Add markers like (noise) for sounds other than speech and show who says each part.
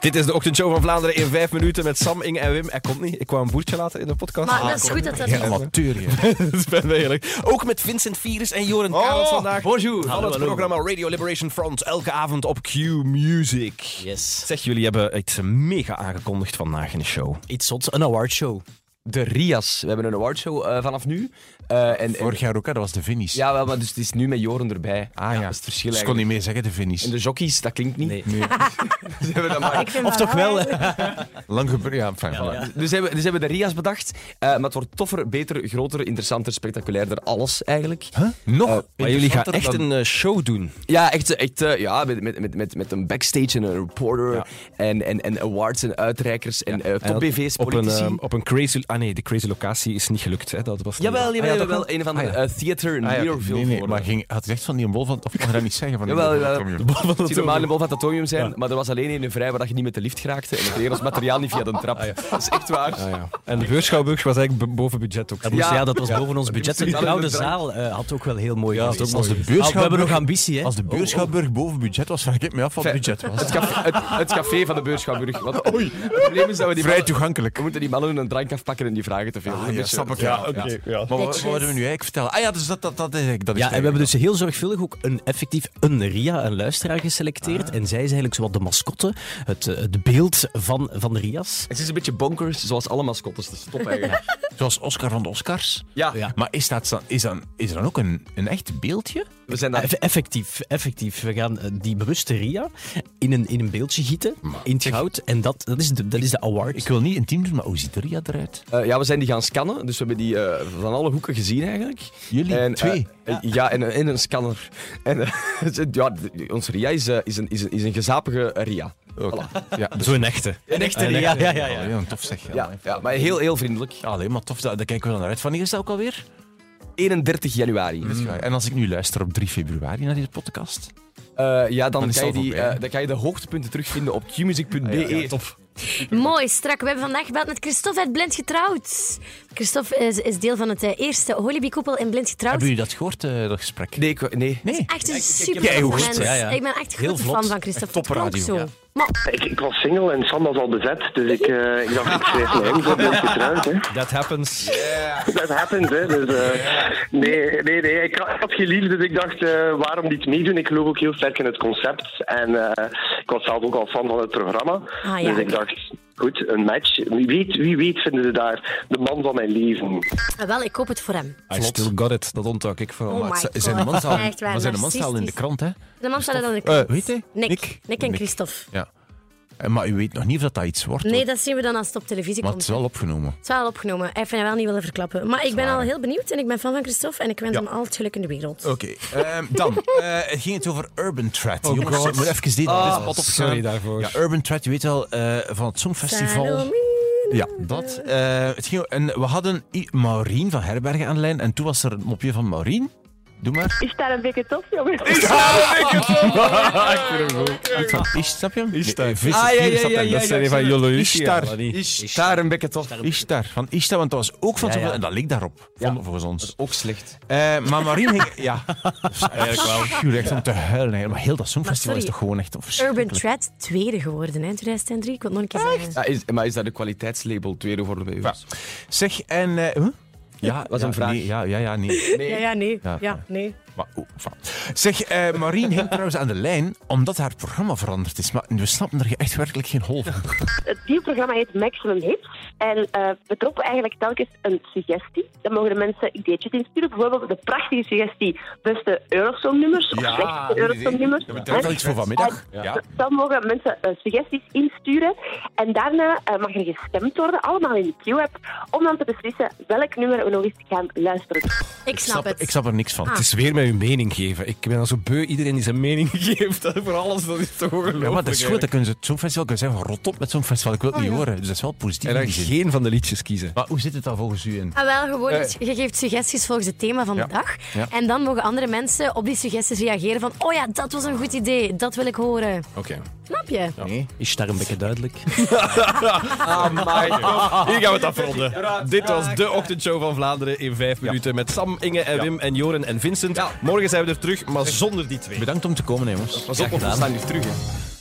Speaker 1: Dit is de ochtendshow van Vlaanderen in vijf minuten met Sam, Inge en Wim. Hij komt niet. Ik kwam een boertje later in de podcast. Ah,
Speaker 2: Maar dat is goed dat dat niet...
Speaker 3: amateur. je.
Speaker 1: (laughs) dat is bijna eigenlijk. Ook met Vincent Vierens en Joren oh, vandaag.
Speaker 3: Bonjour.
Speaker 1: Van het programma Radio Liberation Front, elke avond op Q Music.
Speaker 3: Yes.
Speaker 1: Zeg, jullie hebben iets mega aangekondigd vandaag in de show.
Speaker 3: Iets zots. Een awardshow.
Speaker 4: De Rias. We hebben een awardshow eh, vanaf nu. Eh, en, en-
Speaker 3: Vorig jaar ook, hè, dat was de finish.
Speaker 4: ja, wel, maar dus het is nu met Joren erbij.
Speaker 3: Ah ja.
Speaker 4: Dat is het verschil
Speaker 3: Dus ik kon
Speaker 4: eigenlijk.
Speaker 3: niet meer zeggen, de finish.
Speaker 4: En dus- de jockeys, dat klinkt niet.
Speaker 3: Nee.
Speaker 4: (laughs) Ze hebben
Speaker 1: (laughs)
Speaker 4: dat maar-
Speaker 2: Ik vind
Speaker 3: Of
Speaker 2: dat
Speaker 3: toch wel?
Speaker 2: eigenlijk-
Speaker 3: Lang gebeurd. Ja, enfin, voilà.
Speaker 4: Dus hebben, dus hebben de Rias bedacht. eh, maar het wordt toffer, beter, groter, interessanter, spectaculairder. Alles eigenlijk. Eh,
Speaker 3: Nog? Ah,
Speaker 1: Maar jullie gaan
Speaker 3: interessanter
Speaker 1: echt
Speaker 3: dan-
Speaker 1: een eh, show doen.
Speaker 4: Ja, echt, echt eh, ja, met, met, met, met, met een backstage en een reporter. En, en, en awards en uitreikers en eh,
Speaker 1: En dat-
Speaker 4: top-BV's,
Speaker 1: op een,
Speaker 4: politici.
Speaker 1: eh, op een crazy... Ah nee, de crazy locatie is niet gelukt. Hè. Dat was niet-
Speaker 4: Jawel,
Speaker 1: Ah,
Speaker 4: jawel,
Speaker 1: ja, dat
Speaker 4: jawel. Een van de eh,
Speaker 1: Ah, ja.
Speaker 4: theater
Speaker 3: Ah, ja, nee,
Speaker 4: Neurofilm
Speaker 3: nee, maar ging, had hij echt van die een bol van... Of mag je dat niet zeggen? Van die
Speaker 4: Jawel,
Speaker 3: bol van
Speaker 4: jawel.
Speaker 3: atomium?
Speaker 4: Het ziet normaal in de bol van het atomium zijn, maar er was alleen één vrij waar dat je niet met de lift geraakte. En we kregen ons materiaal niet via de
Speaker 3: Ah,
Speaker 4: trap. Dat is echt waar.
Speaker 1: Ah, ja. En de beurschouwburg was eigenlijk b- boven budget ook.
Speaker 5: Dat moest,
Speaker 4: Ja.
Speaker 5: ja. dat was boven ons budget. De
Speaker 4: moest-
Speaker 5: oude zaal eh, had ook wel heel mooi ja,
Speaker 3: ook als de
Speaker 5: We hebben nog
Speaker 3: beurschouwburg-
Speaker 5: ambitie, hè?
Speaker 3: Als de beurschouwburg boven budget was, vraag ik me af wat
Speaker 4: Enfin,
Speaker 3: budget was.
Speaker 4: Het, café, het, het café van de Beurschouwburg. Want Het probleem is dat we die
Speaker 3: Vrij
Speaker 4: mannen,
Speaker 3: toegankelijk.
Speaker 4: we moeten die mannen een drank afpakken en die vragen te veel.
Speaker 3: Ah,
Speaker 4: Een
Speaker 3: ja,
Speaker 4: beetje-
Speaker 3: snap ik. Ja, oké. Maar wat, wat hadden we nu eigenlijk vertellen? Ah ja, dus dat, dat, dat is eigenlijk... Dat is
Speaker 5: Ja, en we hebben dus heel zorgvullig ook een effectief een Ria, een luisteraar geselecteerd. En zij is eigenlijk zowat de mascotte, het, eh, het beeld van, van de Rias.
Speaker 4: Het is een beetje bonkers, zoals alle mascottes. Dus stop eigenlijk.
Speaker 3: (laughs) Zoals Oscar van de Oscars.
Speaker 4: Ja,
Speaker 5: Ja.
Speaker 3: Maar is, dat, dan- is, dan, is er dan ook een, een echt beeldje?
Speaker 4: we zijn daar...
Speaker 5: Eff- effectief, effectief. We gaan eh, die bewuste Ria in een, in een beeldje gieten, in het goud. En dat, dat, is, de, dat is de award.
Speaker 3: Ik wil niet intiem doen, maar hoe ziet Ria eruit?
Speaker 4: eh, ja, we zijn die gaan scannen, dus we hebben die eh, van alle hoeken gezien eigenlijk.
Speaker 3: Jullie
Speaker 4: En, eh,
Speaker 3: twee.
Speaker 4: ja, en, en een scanner. En, eh, (laughs) ja, onze Ria is, eh, is, een, is, een, is een gezapige Ria.
Speaker 3: Ja, dus,
Speaker 1: Zo'n echte.
Speaker 4: Een echte
Speaker 5: Eh, ja, ja, ja,
Speaker 3: ja,
Speaker 5: ja.
Speaker 3: ja, tof zeg. Ja,
Speaker 4: Ja, ja, maar heel, heel vriendelijk.
Speaker 3: Ja, alleen maar tof, daar, daar kijken we dan naar uit. Wanneer is dat ook alweer?
Speaker 4: 31 januari.
Speaker 3: En als ik nu luister op 3 februari naar deze podcast?
Speaker 4: Eh, ja, dan,
Speaker 3: Dan is
Speaker 4: kan je
Speaker 3: het al
Speaker 4: die,
Speaker 3: voorbij.
Speaker 4: eh, dan kan je de hoogtepunten terugvinden op qmusic.be.
Speaker 1: Ah
Speaker 2: Mooi, strak. We hebben vandaag gebeld met Christophe uit Blind Getrouwd. Christophe is, is deel van het eh, eerste Hollyby-koepel in Blind Getrouwd.
Speaker 3: Hebben jullie dat gehoord, eh, dat gesprek?
Speaker 4: Nee, ik- nee.
Speaker 3: Nee.
Speaker 2: Echt een super
Speaker 3: jij hoort,
Speaker 2: mens.
Speaker 5: ja, ja.
Speaker 2: Ik ben echt een
Speaker 5: Heel
Speaker 2: grote
Speaker 5: vlot.
Speaker 2: fan van Christophe.
Speaker 3: Echt
Speaker 2: Dat klonk
Speaker 3: topradio,
Speaker 2: zo.
Speaker 3: ja.
Speaker 2: Maar
Speaker 6: Ik, ik was single en Sam was al bezet, dus ik, eh, ik dacht, ik schrijf me in voor mensen getrouwd. Hè. (laughs)
Speaker 1: That happens.
Speaker 6: Dat happens, hè. Dus, eh, nee, nee, nee. Ik had- ik had geen liefde, dus ik dacht, eh, waarom niet meedoen? Ik geloof ook heel sterk in het concept. En eh, ik was zelf ook al fan van het programma.
Speaker 2: Ah, ja.
Speaker 6: Dus ik dacht, goed, een match. Wie weet, wie weet vinden ze daar de man van mijn leven.
Speaker 2: ah, wel, ik koop het voor hem.
Speaker 1: I still got it. Dat ontdok ik vooral.
Speaker 2: Oh
Speaker 1: Maar
Speaker 2: my
Speaker 1: het-
Speaker 3: Z- zijn de
Speaker 2: God.
Speaker 3: man al,
Speaker 2: Echt waar,
Speaker 3: maar zijn de man al in de
Speaker 2: narcistisch.
Speaker 3: krant, hè?
Speaker 2: De man staat dan in de
Speaker 3: Eh,
Speaker 2: kant.
Speaker 3: weet hij?
Speaker 2: Nick. Nick,
Speaker 3: Nick.
Speaker 2: en
Speaker 3: Nick.
Speaker 2: Christophe.
Speaker 3: Ja. Eh, Maar u weet nog niet of dat, dat iets wordt.
Speaker 2: Nee,
Speaker 3: hoor.
Speaker 2: dat zien we dan als het op televisie
Speaker 3: Maar het
Speaker 2: komt.
Speaker 3: is wel opgenomen.
Speaker 2: Het is wel opgenomen. Hij heeft mij wel niet willen verklappen. Maar ik ben al heel benieuwd en ik ben fan van Christophe en ik wens hem al het geluk in de wereld.
Speaker 3: Oké, ehm, dan eh, het ging het over Urban Thread. Jongens, ik moet even dit dit pot op
Speaker 1: sorry daarvoor.
Speaker 3: Ja, Urban Thread, je weet wel, eh, van het Songfestival.
Speaker 2: Salome.
Speaker 3: Ja, dat. eh, het ging, en we hadden I- Maureen van Herbergen aan de lijn. En toen was er een mopje van Maureen. Doe maar.
Speaker 7: Is daar een dikke tof, jongen?
Speaker 3: Iets van Ish, snap je hem?
Speaker 1: Ishtar.
Speaker 3: Nee, Vissen,
Speaker 4: Ah, ja, ja,
Speaker 3: vieren, snap je
Speaker 4: ja,
Speaker 3: hem?
Speaker 4: ja,
Speaker 1: Dat
Speaker 4: ja,
Speaker 1: zijn die
Speaker 4: ik
Speaker 1: van
Speaker 4: zie het.
Speaker 1: Jolo
Speaker 3: Ishtar.
Speaker 4: Is daar een bekken tof?
Speaker 3: Ishtar, van Ishtar, want dat was ook van
Speaker 5: Ja,
Speaker 3: zoveel.
Speaker 5: ja.
Speaker 3: En dat leek daarop,
Speaker 4: Ja.
Speaker 3: vol- volgens ons.
Speaker 4: Ook slecht.
Speaker 3: Eh, maar Maureen ging... Ja, eigenlijk wel. echt om te huilen. hè. Maar heel dat Songfestival
Speaker 2: sorry,
Speaker 3: is toch gewoon echt
Speaker 2: Urban
Speaker 3: verschrikkelijk.
Speaker 2: Thread tweede geworden hè, in 2003. Ik wil het nog een keer zeggen.
Speaker 4: Ja, is, maar is dat de kwaliteitslabel tweede geworden bij u?
Speaker 3: Ja. Zeg, en... eh, huh? Ja,
Speaker 4: was een
Speaker 3: ja,
Speaker 4: vraag.
Speaker 3: nee, ja, ja, ja, nee.
Speaker 2: Ja, ja, nee.
Speaker 3: Ja,
Speaker 2: Ja, nee.
Speaker 3: Maar, oh, enfin. Zeg, eh Maureen hing trouwens aan de lijn omdat haar programma veranderd is. Maar we snappen er echt werkelijk geen hol van.
Speaker 7: Het nieuwprogramma heet Maximum Hits. En eh, we droppen eigenlijk telkens een suggestie. Dan mogen de mensen ideetjes insturen. Bijvoorbeeld de prachtige suggestie beste Eurosong-nummers of slechtste Eurosong-nummers.
Speaker 3: We hebben wel iets voor vanmiddag. Ja.
Speaker 7: Dan mogen mensen eh, suggesties insturen. En daarna eh, mag er gestemd worden, allemaal in de Q-app, om dan te beslissen welk nummer we nog eens gaan luisteren.
Speaker 2: Ik snap het.
Speaker 3: Ik snap er niks van.
Speaker 1: Het is weer met uw mening geven. Ik ben al zo beu iedereen die zijn mening (laughs) geeft. Dat voor alles, dat is toch ongelooflijk.
Speaker 3: Ja, maar dat is goed. Dan
Speaker 1: eigenlijk.
Speaker 3: kunnen ze het Songfestival kunnen zeggen, rot op met Songfestival. Ik wil het niet horen. Dus dat is wel positief.
Speaker 1: En
Speaker 3: in
Speaker 1: dan
Speaker 3: die zin.
Speaker 1: geen van de liedjes kiezen.
Speaker 3: Maar hoe zit het dan volgens u in?
Speaker 2: Ah, wel, gewoon, je geeft suggesties volgens het thema van de dag.
Speaker 3: Eh. Ja.
Speaker 2: En dan mogen andere mensen op die suggesties reageren van oh ja, dat was een goed idee, dat wil ik horen.
Speaker 3: Oh.
Speaker 1: Oké.
Speaker 2: Snap je?
Speaker 5: Is daar een beetje duidelijk?
Speaker 1: (laughs) Hier gaan we het afronden. Dit was de ochtendshow van Vlaanderen in vijf minuten. Met Sam, Inge en Wim en Joren en Vincent. Morgen zijn we er terug, maar zonder die twee.
Speaker 3: Bedankt om te komen, hè, jongens.
Speaker 4: Pas op, want we staan nu terug. Hè.